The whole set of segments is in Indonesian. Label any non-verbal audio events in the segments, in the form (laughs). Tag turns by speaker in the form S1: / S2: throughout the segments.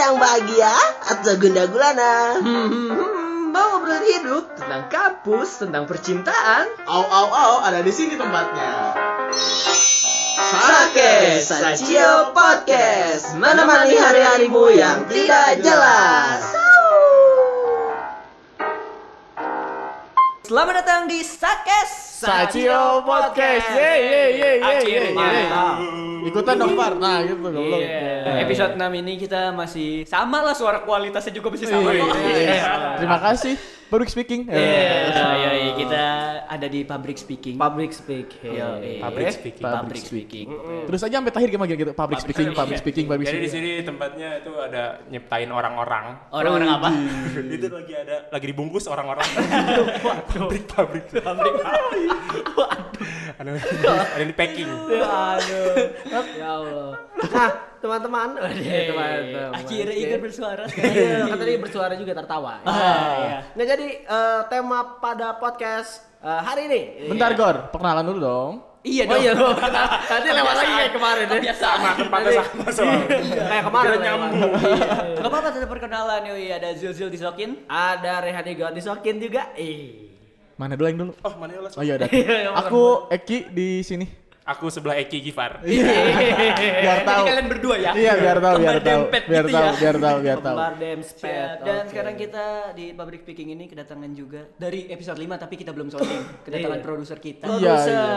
S1: yang bahagia atau gunda gulana?
S2: Hmm, mau ngobrol hidup tentang kampus, tentang percintaan.
S3: Au au au ada di sini tempatnya.
S1: Sake Sacio Podcast menemani hari-harimu yang tidak jelas.
S2: Selamat datang di Sakes.
S3: Sacio Podcast. Ye ye ye ye.
S4: Akhirnya.
S3: Ikutan dong Par. Nah, gitu goblok.
S4: Iya. Episode 6 ini kita masih sama lah suara kualitasnya juga masih sama.
S3: Iya.
S4: kok.
S3: Iya. Terima kasih. Baru speaking.
S4: Iya, iya, iya. kita ada di public speaking.
S2: Public speaking.
S4: Iya, iya.
S5: Public speaking.
S4: Public speaking.
S3: Terus aja sampai terakhir gimana gitu. Public speaking, public speaking, public
S5: Jadi
S3: speaking.
S5: di sini tempatnya itu ada nyiptain orang-orang.
S4: Orang-orang apa?
S5: itu lagi ada lagi dibungkus orang-orang. (laughs) pabrik pabrik pabrik. Ada ada di packing.
S2: Aduh. (laughs) ya Allah. Nah, teman-teman. Aduh, teman-teman.
S4: Akhirnya
S2: Oke.
S4: Iga
S2: (laughs)
S4: bersuara
S2: Iya,
S4: sekarang.
S2: kan tadi bersuara juga tertawa.
S4: iya.
S2: Nah, Ah, jadi eh, tema pada podcast eh, hari ini.
S3: Bentar Gor, perkenalan dulu dong.
S4: Iya
S2: Oh
S4: dong.
S2: iya, gua kenal. Tadi lewat lagi kayak kemarin ya.
S4: Kebiasaan.
S5: Tempatnya sama soalnya.
S2: Kayak kemarin lewat.
S5: Kira
S2: Iya.
S5: nyambung.
S4: Gak apa-apa tetap perkenalan yoi ada Zil Zil disokin.
S2: Ada Rehan Igon disokin juga. Ih.
S3: Mana dulu yang dulu?
S5: Oh, mana ya, Las?
S3: Oh iya
S4: (laughs)
S3: udah.
S2: Iya,
S3: Aku Eki di sini.
S5: Aku sebelah Eki Gifar.
S4: Iya,
S3: (laughs) Biar tahu.
S4: Jadi Eh, kalian berdua ya.
S3: Iya, biar tahu, biar
S4: Kembar
S3: tahu.
S4: dempet
S3: Biar
S4: gitu
S3: tahu,
S4: ya.
S3: biar tahu, biar tahu.
S2: Kembar Dem
S4: Siap.
S2: Sped.
S4: Dan
S2: Oke.
S4: sekarang kita di public speaking ini kedatangan juga dari episode 5 tapi kita belum (coughs) shouting. Kedatangan
S2: Iya.
S4: produser Eh, kita.
S3: Iya,
S2: Produser,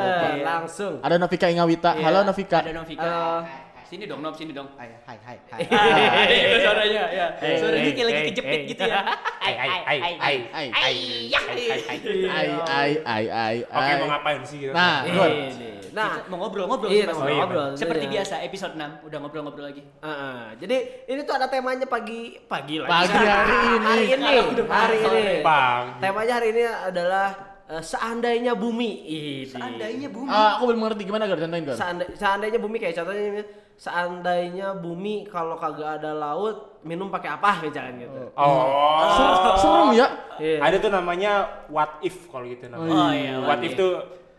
S3: iya.
S2: langsung.
S3: Ada Novika Ingawita.
S4: Iya,
S3: Halo Novika.
S4: Ada Novika.
S2: Halo.
S4: Sini dong, Nov, sini dong. Ah,
S2: Hai hai
S4: (laughs) Ada juga suaranya, ya.
S5: Hey,
S4: Suaranya
S5: hey,
S4: kayak lagi
S5: hey,
S4: kejepit
S5: hey.
S4: gitu (laughs) ya.
S5: Ai ai ai ai.
S3: Ai
S5: Ai, ai.
S3: ai ai ai ai.
S5: Oke,
S3: ai.
S5: mau ngapain sih Iya. kita?
S3: Nah, Gor.
S2: Nah,
S4: Iya, Nah, mau ngobrol-ngobrol
S2: iya,
S4: sih, Mas. Ah,
S5: Oh, iya,
S2: ngobrol-ngobrol.
S4: Seperti
S2: sebenarnya.
S4: biasa episode 6 udah ngobrol-ngobrol lagi.
S2: Heeh. Jadi ini tuh ada temanya pagi pagi lagi.
S3: Pagi
S4: (laughs)
S3: hari ini.
S2: Hari ini.
S4: Sekarang udah
S2: Hari
S4: sore.
S2: ini.
S5: Bang.
S2: Temanya hari ini adalah eh, seandainya bumi. Ih,
S4: Seandainya bumi.
S3: Ah, aku belum ngerti gimana Gor, contohin Gor.
S2: Seandai- seandainya bumi kayak contohnya ini, seandainya bumi kalau kagak ada laut minum pakai apa misalnya gitu.
S5: Oh.
S3: Serem ya.
S2: Iya.
S5: Ada tuh namanya what if kalau gitu namanya.
S4: Oh, iya,
S5: What if tuh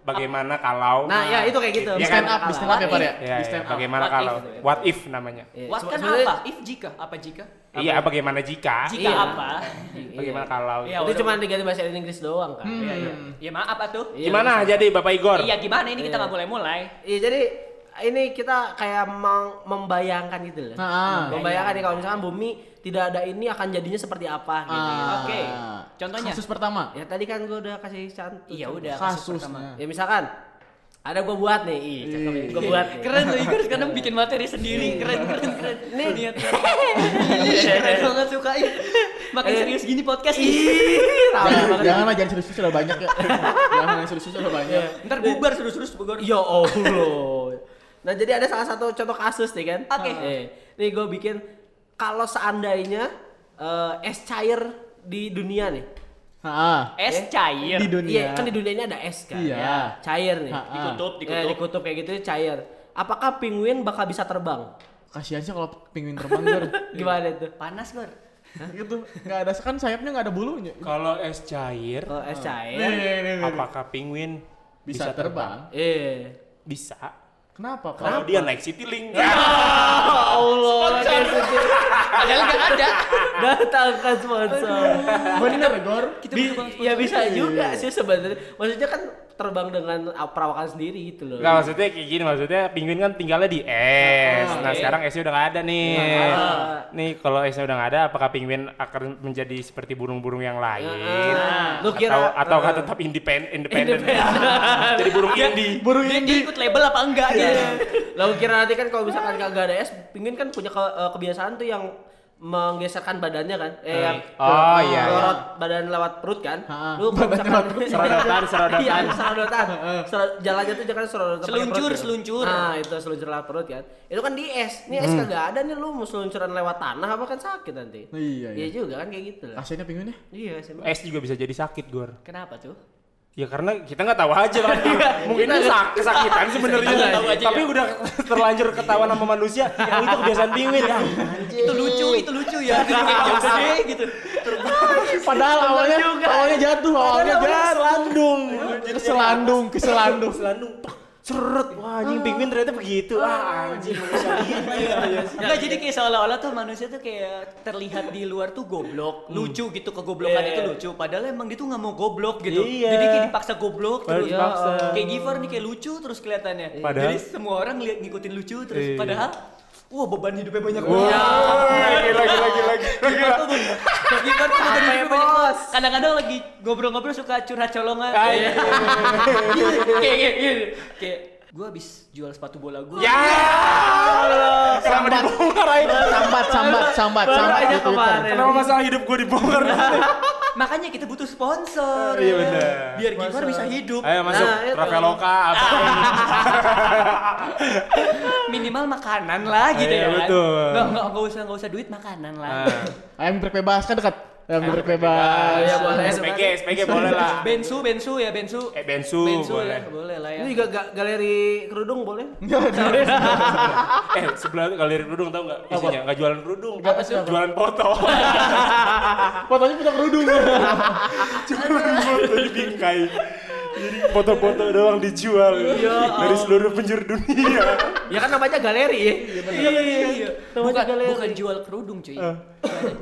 S5: bagaimana kalau
S2: Nah, ya itu kayak gitu.
S3: Di
S5: Iya kan?
S3: stand up, di stand up ya, Par ya.
S5: Ya,
S3: Di
S5: ya,
S3: stand up.
S5: bagaimana
S4: What if
S5: kalau
S4: gitu ya.
S5: what if namanya?
S4: What kan
S2: Iya. Sebenarnya- ya,
S4: apa? If jika, apa jika?
S5: Iya, bagaimana jika?
S4: Jika
S2: Iya.
S4: apa?
S5: Bagaimana kalau?
S4: Ah, Iya.
S2: Itu cuma diganti bahasa Inggris doang kan.
S4: Iya, iya. Ya maaf atuh.
S5: Gimana jadi Bapak Igor?
S4: Iya, gimana ini kita nggak boleh mulai.
S2: Iya jadi ini kita kayak meng- membayangkan gitu loh.
S3: Ah.
S2: membayangkan nih kalau misalkan bumi tidak ada ini akan jadinya seperti apa gitu.
S3: Ah.
S4: Oke, contohnya?
S3: Kasus pertama.
S2: Ya tadi kan gue udah kasih cantu.
S4: Iya
S2: cantu.
S4: udah
S3: Iya, Kasus.
S2: Ya misalkan ada gue buat nih, ih, cakep nih, gue buat. nih.
S4: Keren loh Igor sekarang bikin materi sendiri. Keren keren keren.
S2: Nih.
S4: Niat. Iya. (laughs) Keren banget suka iya. Makin
S2: Eh.
S4: serius gini podcast
S2: Ih,
S4: ini.
S2: tahu banget.
S3: Jangan lah, jangan serius sudah banyak ya. Jangan yang serius sudah banyak.
S4: Ntar bubar terus-terus Bogor.
S2: Ya Allah. Nah jadi ada salah satu contoh kasus nih kan.
S4: Oke.
S2: Eh, nih gue bikin kalau seandainya eh, es cair di dunia nih.
S3: Heeh.
S4: Es
S3: Ah,
S4: cair.
S3: Di dunia.
S2: Iya, kan di dunia ini ada es kan.
S3: Iya.
S2: Ya, cair nih.
S3: Ha-ha.
S4: Dikutup,
S2: Ya,
S4: dikutup.
S2: dikutup kayak gitu cair. Apakah penguin bakal bisa terbang?
S3: Kasihan sih kalau penguin terbang Gor.
S2: Gimana itu?
S4: Panas Gor.
S3: Gitu. Enggak ada kan sayapnya enggak ada bulunya.
S5: Kalau es cair,
S2: Kalau Oh,
S4: Oh.
S2: es
S3: Nih,
S4: Eh.
S2: cair,
S3: nih, nih, nih.
S5: apakah penguin
S3: iya, Bisa terbang.
S2: eh.
S5: Bisa.
S3: Kenapa, Pak?
S5: Kalau dia naik CityLink.
S2: Allah,
S4: Padahal nggak ada.
S2: datangkan sponsor.
S3: Bener, Gor.
S4: Kita
S2: Bi-
S4: butuh banget
S2: ya
S4: sponsor.
S3: Iya.
S2: bisa juga sih sebenarnya. Maksudnya kan terbang dengan uh, perawakan sendiri gitu loh.
S5: Enggak maksudnya kayak gini, maksudnya penguin kan tinggalnya di es. Nah, sekarang esnya udah nggak ada nih. Nih, kalau esnya udah nggak ada, apakah penguin akan menjadi seperti burung-burung yang lain?
S2: Lu kira
S5: atau atau nggak tetap independen independen. Jadi burung
S4: Iya.
S5: indie.
S3: Burung
S4: Dia, dia
S3: ini.
S4: ikut label apa enggak gitu.
S5: iya.
S2: Lalu kira nanti kan kalau misalkan kagak ada es, penguin kan punya ke- eh, kebiasaan tuh yang menggeserkan badannya kan. Eh, yang
S5: Oh, iya, iya.
S2: melorot badan lewat perut kan.
S3: Ha-ha.
S2: Lu kalau
S3: Badan
S2: misalkan-
S3: lewat perut.
S5: Serodotan, serodotan.
S2: (laughs) Iya, serodotan. Sero- jalannya tuh jangan serodotan. pakai
S4: Seluncur,
S2: perut, gitu.
S4: seluncur.
S2: Nah, itu seluncur lewat perut kan. Itu kan di es. Ini
S5: Hmm.
S2: es kagak ada nih lu mau seluncuran lewat tanah apa kan sakit nanti.
S3: Iya,
S2: Iya
S3: iya.
S2: juga kan kayak gitu lah.
S3: Kasihannya penguinnya.
S2: Iya, sih.
S5: Es juga bisa jadi sakit, Gor.
S4: Kenapa tuh?
S5: Ya karena kita nggak tahu aja kan. Mungkin ini sak kesakitan sebenarnya.
S4: Kita nggak tahu aja,
S5: Tapi udah terlanjur ketahuan sama manusia. Ya itu kebiasaan pingin ya.
S4: Itu lucu, itu lucu ya. Itu kayak jokes deh gitu.
S3: Padahal awalnya awalnya jatuh, awalnya jatuh. Selandung. Keselandung, keselandung.
S5: Selandung. seret wah anjing penguin ternyata begitu ah anjing manusia liar ya.
S4: Enggak jadi kayak seolah-olah tuh manusia tuh kayak terlihat di luar tuh
S5: Hmm.
S4: goblok, lucu gitu kegoblokan
S2: Iya.
S4: itu lucu. Padahal emang dia tuh nggak mau goblok gitu.
S5: Iya.
S4: Jadi kayak dipaksa goblok
S5: Baru
S4: terus.
S5: dipaksa.
S4: Kayak Giver nih kayak lucu terus kelihatannya.
S5: Padahal-
S4: Jadi semua orang lihat ngikutin lucu terus.
S5: Iya.
S4: Padahal, wah beban hidupnya banyak
S5: Woi,
S4: banget.
S5: gila gila gila gila gila.
S4: Giver tuh beban hidupnya banyak banget. Kadang-kadang lagi ngobrol-ngobrol suka curhat colongan.
S5: Ay. Iya.
S4: Kayak kayak gitu. kayak gue habis jual sepatu bola gue.
S5: Ya Allah. Kenapa dibongkar ay?
S3: Sambat, sambat, sambat,
S2: Baru
S3: sambat.
S2: aja
S3: di Twitter.
S2: kemarin.
S5: Kenapa masalah hidup gue dibongkar?
S4: Makanya kita butuh sponsor.
S5: Iya,
S4: ya.
S5: bener.
S4: Biar Giver bisa hidup.
S5: Ayo masuk
S2: Nah, itu.
S5: Traveloka apa?
S4: Minimal makanan lah gitu
S5: Iya,
S4: ya. kan?
S5: betul.
S4: Nggak, nggak, nggak usah nggak usah duit makanan lah.
S5: Nah.
S3: Ayam geprek bebas kan dekat. Ayam geprek bebas.
S2: Iya, boleh.
S5: SPG, SPG boleh lah.
S4: Bensu, bensu ya bensu.
S5: Ah. Eh Bensu,
S4: bensu
S5: boleh.
S4: ya, boleh lah ya.
S2: Ini juga ga- galeri kerudung
S4: (laughs)
S2: boleh?
S5: Eh sebelah itu galeri kerudung tau nggak isinya? Nggak jualan kerudung,
S3: Apa sih?
S5: jualan foto.
S3: Fotonya punya kerudung.
S5: Jualan foto di bingkai. Jadi foto-foto doang dijual dari seluruh penjuru dunia.
S2: Ya kan namanya galeri ya.
S4: Iya, iya, iya. Bukan, bukan jual kerudung cuy.
S5: Eh.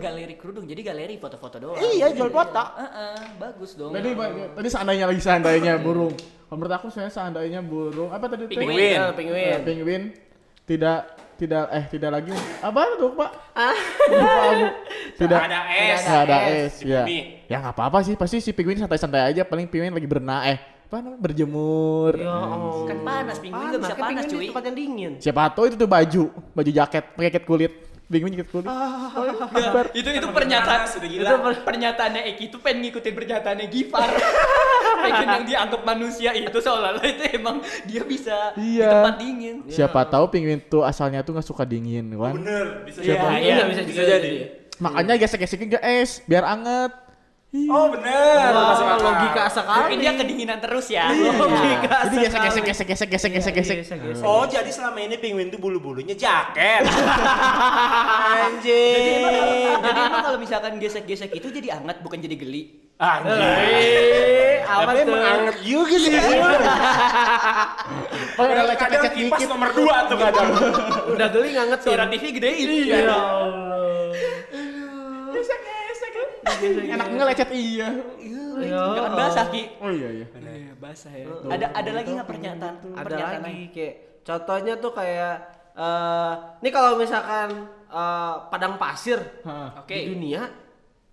S4: galeri kerudung, jadi galeri foto-foto doang.
S3: Iya, jual foto.
S4: Eh, eh, bagus dong.
S3: Tadi tadi seandainya lagi seandainya burung. Kalau Menurut aku sebenarnya seandainya burung apa tadi tuh?
S4: Penguin.
S5: Penguin.
S2: Eh, Penguin.
S3: Eh, Penguin tidak tidak eh tidak lagi apa tuh pak? Lupa aku. Tidak
S5: Nggak ada es.
S3: Nggak ada
S5: Nggak ada
S3: es.
S5: es.
S3: Ya.
S5: Di
S3: Ya nggak apa-apa sih. Pasti si penguin santai-santai aja. Paling penguin lagi berenang eh apa namanya berjemur.
S2: Ya Allah.
S4: Kan panas, penguin nggak bisa
S2: kan
S4: panas,
S2: penguin
S4: cuy.
S2: di Tempat yang dingin.
S3: Siapa tahu itu tuh baju baju jaket pakai jaket kulit. Penguin jaket kulit.
S4: Nggak, itu itu
S5: Iya.
S4: pernyataan
S5: Panas, udah gila.
S4: itu per- pernyataannya Eki itu pengen ngikutin pernyataannya
S5: (laughs)
S4: Gifar pengen yang dianggap manusia itu seolah-olah itu emang dia bisa di
S3: Iya.
S4: tempat dingin
S3: Siapa tahu penguin tuh asalnya tuh nggak suka dingin kan.
S5: Bener, bisa
S3: Siapa?
S5: jadi.
S2: Iya, bisa juga jadi.
S3: Makanya gesek-gesekin ke es biar anget.
S5: Oh bener, masuk
S2: Wah,
S5: akal.
S2: logika sekali.
S4: mungkin dia kedinginan terus ya (laughs)
S2: Logika
S3: Nah, Jadi
S2: sekali.
S3: gesek-gesek gesek-gesek
S2: Iya,
S3: gesek-gesek gesek.
S4: Iya.
S5: Oh jadi selama ini penguin tuh bulu-bulunya (laughs) jaket.
S4: jadi emang,
S5: Anjing.
S4: jadi emang kalau misalkan gesek-gesek itu jadi anget bukan jadi geli
S5: Ah, gitu.
S2: Iya.
S4: Eh,
S5: Anjing.
S2: apa
S5: iya. Tapi
S2: tuh?
S5: emang anget juga sih.
S3: Kalau ada
S5: Iya. Kadang
S3: Oh, iya, lecet-lecet
S5: kipas
S3: dikit.
S5: nomor dua tuh kadang.
S2: Udah geli nganget sih.
S4: suara TV gedein
S2: Ya Allah.
S3: Enak ngelecet iya.
S4: jangan basah Ki
S3: Oh iya iya.
S4: Iya, basah ya
S5: Gitu.
S4: ada ada lagi nggak pernyataan
S2: ada
S4: pernyataan
S2: lagi kayak contohnya tuh kayak eh ini kalau misalkan eh, padang pasir
S3: Hah.
S4: Oke. Ah,
S2: di dunia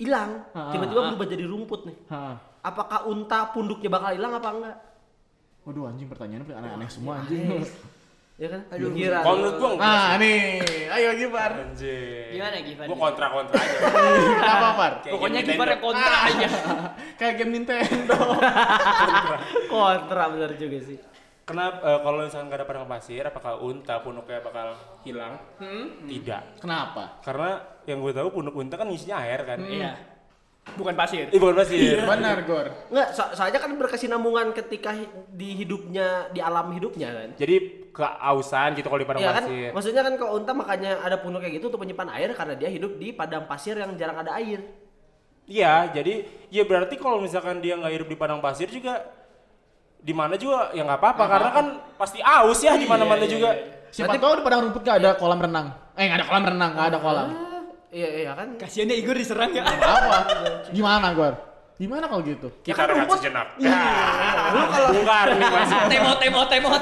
S2: hilang
S3: Ha,
S2: tiba-tiba berubah jadi rumput nih
S3: Hah.
S2: apakah unta punduknya bakal hilang apa enggak
S3: Waduh anjing pertanyaannya paling aneh-aneh semua anjing.
S2: ya kan aduh kira
S5: Kalau menurut gua enggak.
S3: Ah nih, ayo
S5: Iya.
S3: Gibar.
S5: Anjing.
S4: Gimana, Gimana?
S5: Gua kontra-kontra (laughs) aja.
S3: Kenapa Far?
S5: Kayak
S4: pokoknya
S5: game
S4: Gifar yang kontra aja
S3: Kayak game Nintendo.
S2: kontra bener juga sih
S5: Kenapa eh, kalau misalkan nggak ada padang pasir, apakah unta punuknya bakal hilang? Tidak.
S3: Kenapa?
S5: Karena yang gue tahu punuk unta kan isinya air kan.
S4: iya bukan pasir
S5: Eh bukan pasir.
S3: Benar Gor.
S2: Nggak, so- soalnya kan berkesinambungan ketika hi- di hidupnya di alam hidupnya kan
S5: Jadi keausan gitu kalau di padang
S2: Iya kan,
S5: pasir.
S2: maksudnya kan kalau unta makanya ada punuk kayak gitu untuk menyimpan air karena dia hidup di padang pasir yang jarang ada air.
S5: Iya, jadi ya berarti kalau misalkan dia nggak hidup di padang pasir juga di mana juga ya nggak apa-apa karena kan pasti aus ya di mana-mana juga.
S3: Siapa tahu di padang rumput gak ada kolam renang. Eh gak ada kolam renang, gak ada kolam.
S2: Ah, Iya iya kan.
S4: kasiannya Igor diserang ya
S3: Apa? Gimana Gor? Gimana kalau gitu?
S5: Kita rehat sejenak.
S2: Lu kalau
S5: Bongkar nih Mas.
S4: Ah, temot temot temot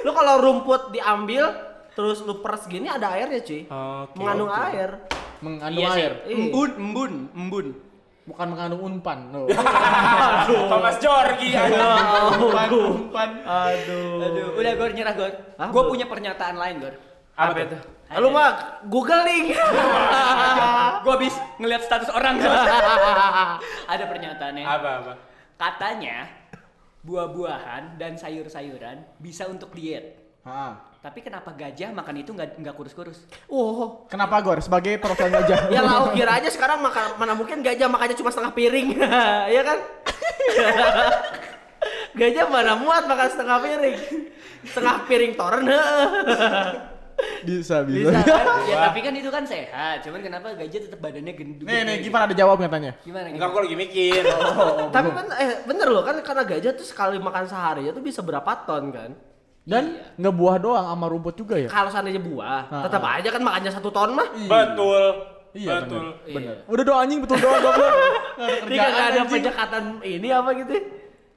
S2: lu kalau rumput diambil terus lu peres gini ada airnya cuy.
S5: Oke,
S2: Mengandung
S5: oke.
S2: air.
S3: Mengandung
S4: Iya sih.
S3: air.
S4: embun embun embun
S3: Bukan mengandung umpan. (laughs) loh.
S5: Thomas Jorgi aja.
S3: umpan, umpan.
S2: Aduh.
S4: aduh udah Gor nyerah Gor
S2: Hah?
S4: gue punya pernyataan lain Gor
S5: Apa tuh?
S2: Lu mah googling.
S4: gue habis ngeliat status orang (laughs) Gor. ada pernyataannya
S5: Apa apa?
S4: katanya buah-buahan dan sayur-sayuran bisa untuk diet
S3: Ah.
S4: tapi kenapa gajah makan itu nggak nggak kurus-kurus
S2: (laughs) Wow.
S3: Kenapa Gor? Sebagai perwakilan gajah.
S2: Ya lauk kira aja sekarang makan mana mungkin gajah makannya cuma setengah piring. (laughs) Iya kan? gajah mana muat makan setengah piring. Setengah piring toren. (laughs)
S3: Bisa,
S2: Bisa
S3: bisa.
S2: kan?
S4: ya tapi kan itu kan sehat cuman kenapa gajah tetap badannya gendut
S3: Nih, nih, Gifar ada jawab nggak tanya?
S5: Enggak
S4: gimana gimana
S5: gua lagi mikir.
S2: Oh. Tapi kan eh bener loh kan karena gajah tuh sekali makan sehari itu bisa berapa ton kan?
S3: Dan ngebuah doang sama rumput juga ya?
S2: Kalau seandainya buah,
S3: Ah,
S2: tetap aja kan makannya satu ton mah.
S5: Betul.
S3: Iya
S5: betul.
S3: bener, bener. Udah doang anjing betul doang goblok. Nggak ada
S2: Ini gak
S3: kerjaan,
S2: ada
S3: anjing.
S2: penyekatan ini apa gitu.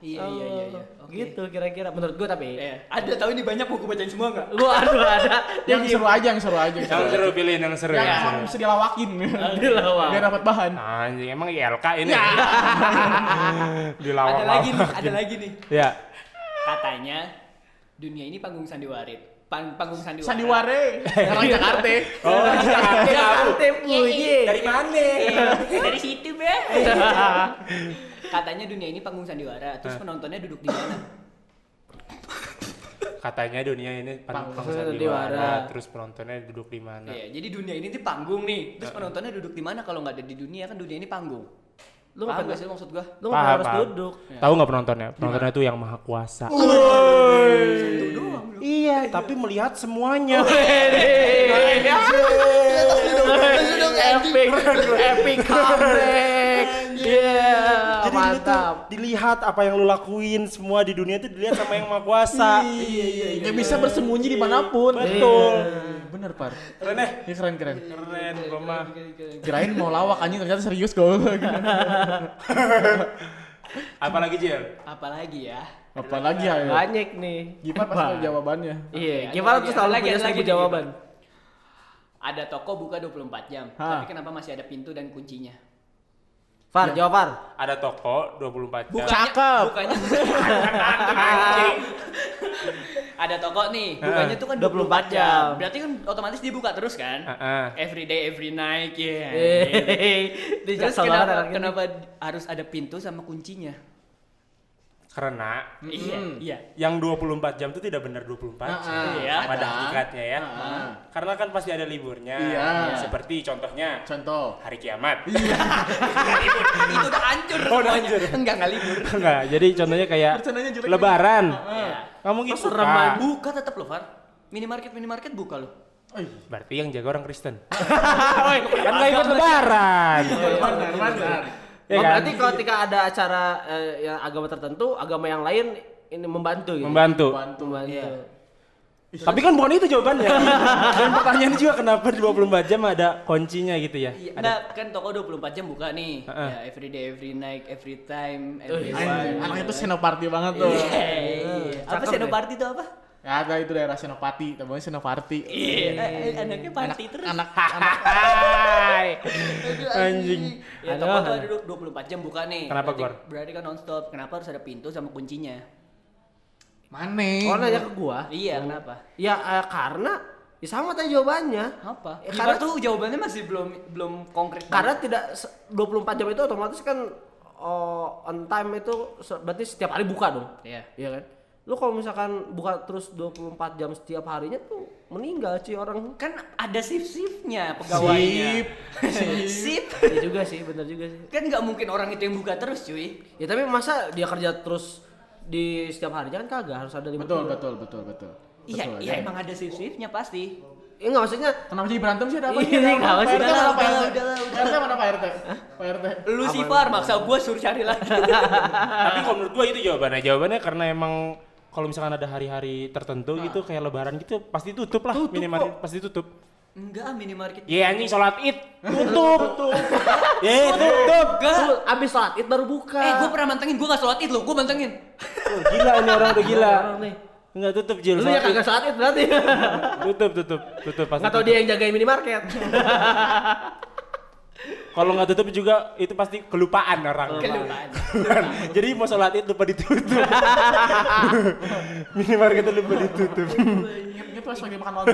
S4: Iya iya iya iya.
S2: Oh,
S4: Oke.
S2: Gitu kira-kira menurut gue tapi.
S4: Eh, ada tahu ini banyak mau gue bacain semua nggak?
S2: Lu aduh
S4: (laughs)
S2: ada
S3: Ya, Yang seru aja, yang seru aja.
S5: Yang seru pilihin yang seru.
S3: Yang
S5: yang
S3: emang
S5: seru.
S3: bisa dilawakin.
S2: Dilawak.
S3: (laughs) Biar dapat bahan.
S5: Anjing emang ILK ini. (laughs) Dilawak.
S4: Ada lagi nih, ada lagi nih.
S5: Ya.
S4: Katanya dunia ini panggung sandiwarit. Pan- panggung sandiwara.
S3: Sandiware. Orang (laughs) Jakarta.
S5: Oh,
S3: Iya,
S2: Jakarta puji.
S5: Dari mana?
S4: Dari situ, Be. Katanya dunia ini panggung sandiwara, terus penontonnya duduk di mana?
S5: Katanya dunia ini pan-
S2: Panggung
S5: pangsa
S2: sandiwara.
S5: diwara, terus penontonnya duduk di mana?
S4: Iya, jadi dunia ini tuh panggung nih. Terus penontonnya duduk di mana kalau nggak ada di dunia kan dunia ini panggung.
S2: Lu
S4: Lu
S2: ngapain
S4: paham gak sih maksud gua?
S2: Lu nggak
S5: Paham,
S2: harus
S5: paham.
S2: duduk.
S5: Tahu nggak penontonnya? Penontonnya itu yang maha kuasa.
S4: Itu doang.
S5: Iya, tapi melihat semuanya.
S2: Epic, epic comeback. Yeah,
S5: Jadi lu tuh
S2: Ah, mantap.
S5: dilihat apa yang lu lakuin semua di dunia itu dilihat sama yang maha kuasa.
S3: Iya iya iya. bisa bersembunyi dimanapun.
S5: Betul.
S3: Iya, Bener par.
S5: Keren eh.
S3: Ini keren keren.
S5: Keren, gua mah.
S3: Kirain mau lawak anjing ternyata serius (laughs) goblok.
S5: Apalagi Jel?
S4: Apalagi ya?
S3: Apalagi ya.
S2: Banyak nih.
S3: Gimana pas tahu jawabannya?
S2: Iya,
S4: Oke,
S2: gimana
S4: ada
S2: tuh
S4: lagi,
S2: selalu
S4: ada
S2: punya
S4: lagi,
S2: seribu
S4: ada lagi.
S2: jawaban?
S4: Ada toko buka 24 jam,
S3: Hah.
S4: tapi kenapa masih ada pintu dan kuncinya?
S2: Far,
S4: Nah.
S2: jawab Far.
S5: Ada toko 24 jam.
S3: Cakep.
S4: Bukannya kan ada toko nih,
S5: Heeh.
S4: bukanya tuh kan 24 jam. Berarti kan otomatis dibuka terus kan?
S5: Heeh.
S4: Every day, every night,
S2: (laughs)
S4: ya.
S2: Hehehe. Di
S4: Terus
S2: Jaksel banget
S4: kenapa,
S2: anak ini.
S4: kenapa harus ada pintu sama kuncinya?
S5: Karena
S4: Iya, iya.
S5: yang 24 jam itu tidak benar 24 jam
S4: Ah,
S5: ya,
S4: iya,
S5: pada
S3: ada.
S5: hakikatnya ya. Karena kan pasti ada liburnya.
S3: Iya.
S5: Seperti contohnya
S3: Contoh.
S5: hari kiamat.
S4: Kan itu udah hancur
S5: Oh, udah
S4: semuanya.
S5: hancur. Ah.
S4: Enggak, enggak libur.
S5: Enggak, jadi contohnya kayak
S3: Bercandanya jelek lagi.
S5: lebaran.
S4: Iya.
S5: Nggak mungkin
S2: Kok serem
S5: buka.
S2: aja.
S4: Buka tetap loh, Far. Minimarket, minimarket buka loh.
S3: Oi.
S5: Berarti yang jaga orang Kristen. kan nggak ikut lebaran.
S3: Benar benar.
S5: Ya
S2: Oh,
S5: kan?
S2: Berarti kalau ketika ada acara eh, yang agama tertentu, agama yang lain ini membantu gitu.
S5: Membantu.
S3: Bantu.
S2: Membantu.
S4: Iya.
S5: Tapi kan bukan itu jawabannya. Dan pertanyaannya juga kenapa 24 jam ada kuncinya gitu ya?
S4: Iya,
S5: Ada.
S4: nah, kan toko 24 jam buka nih.
S5: Heeh.
S4: Ya, every day, every night, every time,
S2: Wih,
S4: every
S3: Anjing,
S4: one.
S3: anak itu senoparti banget tuh.
S4: Iya, iya. Apa
S2: Cakep deh.
S4: senoparti itu apa?
S3: Ya ada itu daerah Senopati, temennya Senopati.
S4: Iya, eh, anaknya party terus.
S3: Anak
S4: (laughs)
S3: anak
S5: Hai. Anjing.
S4: Ya,
S2: Aduh,
S4: toko tuh ada
S2: aduh.
S4: 24 jam buka nih.
S5: Kenapa,
S4: berarti,
S5: Gor?
S4: Berarti kan nonstop. Kenapa harus ada pintu sama kuncinya?
S3: Mane.
S2: Oh, nanya ke gua.
S4: Iya, kenapa?
S2: Ya eh, karena ya sama tadi jawabannya.
S4: Apa?
S2: Ya,
S4: karena
S2: karena-
S4: tuh jawabannya masih belum belum konkret.
S2: Karena tidak se- 24 jam itu otomatis kan oh, on time itu se- berarti setiap hari buka dong.
S4: banget. Iya.
S2: Iya kan? Lu kalau misalkan buka terus 24 jam setiap harinya tuh meninggal sih orang.
S4: Kan ada shift-shiftnya
S3: Sip.
S4: pegawainya. Sip.
S2: Iya juga sih, bener juga sih.
S4: Kan nggak mungkin orang itu yang buka terus, cuy.
S2: Ya tapi masa dia kerja terus di setiap harinya kan kagak harus ada lima
S3: Betul,
S2: puluh.
S3: betul, betul, betul.
S4: Iya,
S3: Betul,
S4: iya
S3: ya.
S4: emang ada shift-shiftnya pasti.
S2: Ya enggak maksudnya
S3: Kenapa jadi berantem sih ada apa?
S2: Iya, nggak apa sih.
S3: Pak RT
S4: Udah
S3: mana
S4: lah,
S3: Pak
S4: udah lah,
S3: RT?
S4: udah lah,
S3: Pak RT mana Pak RT? Pak RT.
S4: Lu sih Far, maksa gue suruh cari (laughs) lagi.
S5: Tapi kalau menurut gua itu jawabannya. Jawabannya karena emang kalau misalkan ada hari-hari tertentu gitu kayak lebaran gitu pasti tutup lah minimarket pasti tutup.
S4: Enggak, minimarket.
S5: Iya anjing sholat Id tutup. Ye tutup.
S4: Enggak.
S2: lu abis sholat id baru buka.
S4: Eh, gue pernah mantengin, gue gak sholat id lo, gue mantengin.
S5: Oh, gila ini orang udah gila.
S2: Orang nih.
S5: Enggak tutup Jil.
S2: Lu ya
S5: sholat Id.
S2: kagak sholat id berarti. (laughs)
S5: Tutup tutup tutup pasti.
S2: Enggak tahu
S5: tutup.
S2: dia yang jagain minimarket.
S5: Kalau nggak tutup juga itu pasti kelupaan orang.
S4: Kelupaan.
S5: (laughs) Jadi mau sholat itu lupa ditutup. Minimarket lupa ditutup.
S3: Ini pas lagi makan lontong.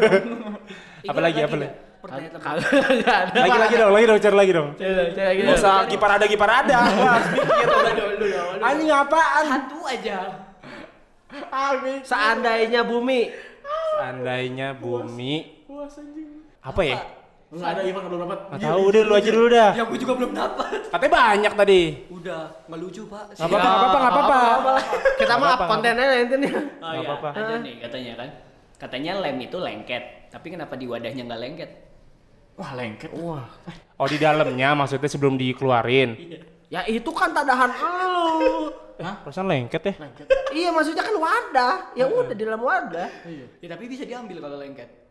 S4: Ini
S5: Apalagi,
S4: lagi
S5: apalagi?
S4: nggak? Pertanyaan terakhir.
S2: Kagak nggak ada.
S5: Lagi lagi dong, lagi dong, cari lagi dong.
S2: Coba, coba gitu.
S5: Gak usah gipar ada gipar (laughs) ada. Wah, harus mikir. Anjing apaan?
S4: Satu aja.
S3: Amin.
S2: Seandainya bumi
S5: Seandainya bumi
S3: Puas anjing.
S5: apa Iya. ya?
S3: Enggak ada Ivan belum dapat.
S5: Gak tahu udah lu aja dulu dah.
S4: Ya gue juga belum dapat.
S5: Katanya banyak tadi.
S4: Udah, nggak lucu pak.
S5: Gak apa-apa, gak apa-apa, gak apa-apa.
S2: kita
S5: Nggak
S2: mah
S5: apa-apa,
S2: kontennya nanti nih.
S4: Oh
S5: Nggak
S4: iya,
S5: apa-apa.
S4: ada nih katanya kan. Katanya lem itu lengket, tapi kenapa di wadahnya nggak lengket?
S3: Wah, lengket. Wah.
S5: Oh di dalamnya maksudnya sebelum dikeluarin.
S2: Ya itu kan tadahan lu.
S5: Eh, perasaan lengket ya.
S2: iya maksudnya kan wadah
S5: Iya.
S2: ya udah di dalam wadah
S4: Ya, tapi bisa diambil kalau lengket.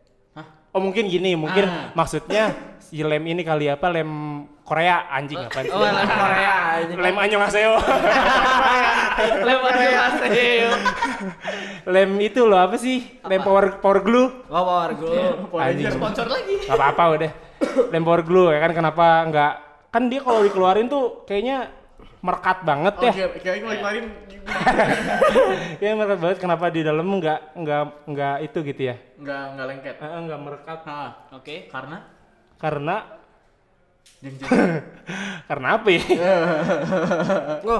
S5: Oh mungkin gini, mungkin maksudnya si lem ini kali ya, apa lem Korea anjing apa sih?
S2: oh lem Korea aja
S5: lem
S2: (laughs)
S5: annyeonghaseyo.
S4: Lewat
S5: lem itu loh apa sih? Lem power power glue.
S2: oh power glue
S5: Anjing.
S4: Sponsor lagi.
S5: Gak apa-apa udah. Lem power glue ya kan kenapa nggak kan dia kalau dikeluarin tuh kayaknya merekat banget
S2: Oh,
S5: ya.
S2: gitu.
S5: (laughs)
S3: Oke, kayaknya kalau kemarin
S5: ya merekat banget kenapa di dalam nggak nggak nggak itu gitu ya.
S3: nggak nggak lengket.
S5: Eh, eh, nggak merekat
S3: Ah,
S4: Oke.
S3: karena
S5: karena (laughs)
S3: yang jadi
S5: karena apa
S2: (laughs)
S5: ya?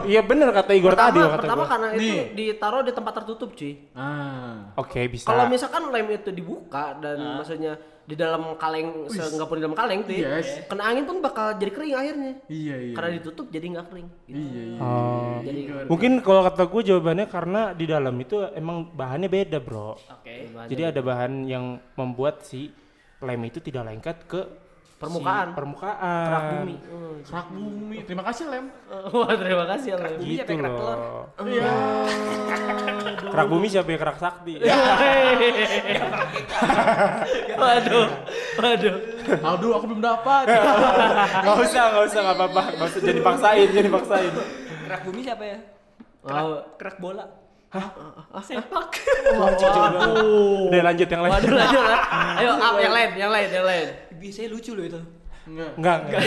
S5: Iya bener kata
S2: Oh.
S5: Igor
S2: pertama,
S5: tadi loh kata
S2: pertama
S5: gua.
S2: karena itu
S3: Nih.
S2: ditaruh di tempat tertutup cuy
S3: ah
S5: Oke bisa.
S2: kalau misalkan lem itu dibuka dan
S5: Nah.
S2: maksudnya di dalam kaleng seenggak pun di dalam kaleng tuh ya,
S3: Yes.
S2: kena angin pun bakal jadi kering akhirnya
S3: iya iya
S2: karena ditutup jadi nggak kering gitu.
S3: iya iya.
S5: Oh.
S2: jadi
S5: Mungkin kalau kata gue jawabannya karena di dalam itu emang bahannya beda bro.
S2: Ah,
S4: Oke.
S5: Jadi ada bahan yang membuat si lem itu tidak lengket ke
S2: permukaan
S5: si permukaan.
S2: kerak bumi
S3: Kerak bumi. Terima kasih lem.
S2: (laughs) wah terima kasih ya
S5: (laughs)
S2: lem
S5: Gitu
S4: kerak
S5: loh.
S4: telur?
S2: Oh. (laughs)
S3: Iya.
S5: Kerak bumi siapa ya kerak sakti?
S2: Iya.
S5: (laughs)
S2: waduh waduh
S3: Aduh, aku belum
S2: (laughs)
S3: dapat.
S5: Gak usah, gak usah, gak apa-apa. Gak usah jadi paksain, jadi paksain.
S4: Kerak bumi siapa ya?
S2: wow.
S4: Kerak bola. Hah? Sepak.
S5: Udah lanjut yang lain.
S2: waduh lanjut lah ayo up yang lain yang lain yang lain
S4: Biasanya lucu loh itu.
S3: Enggak.
S5: Enggak, enggak.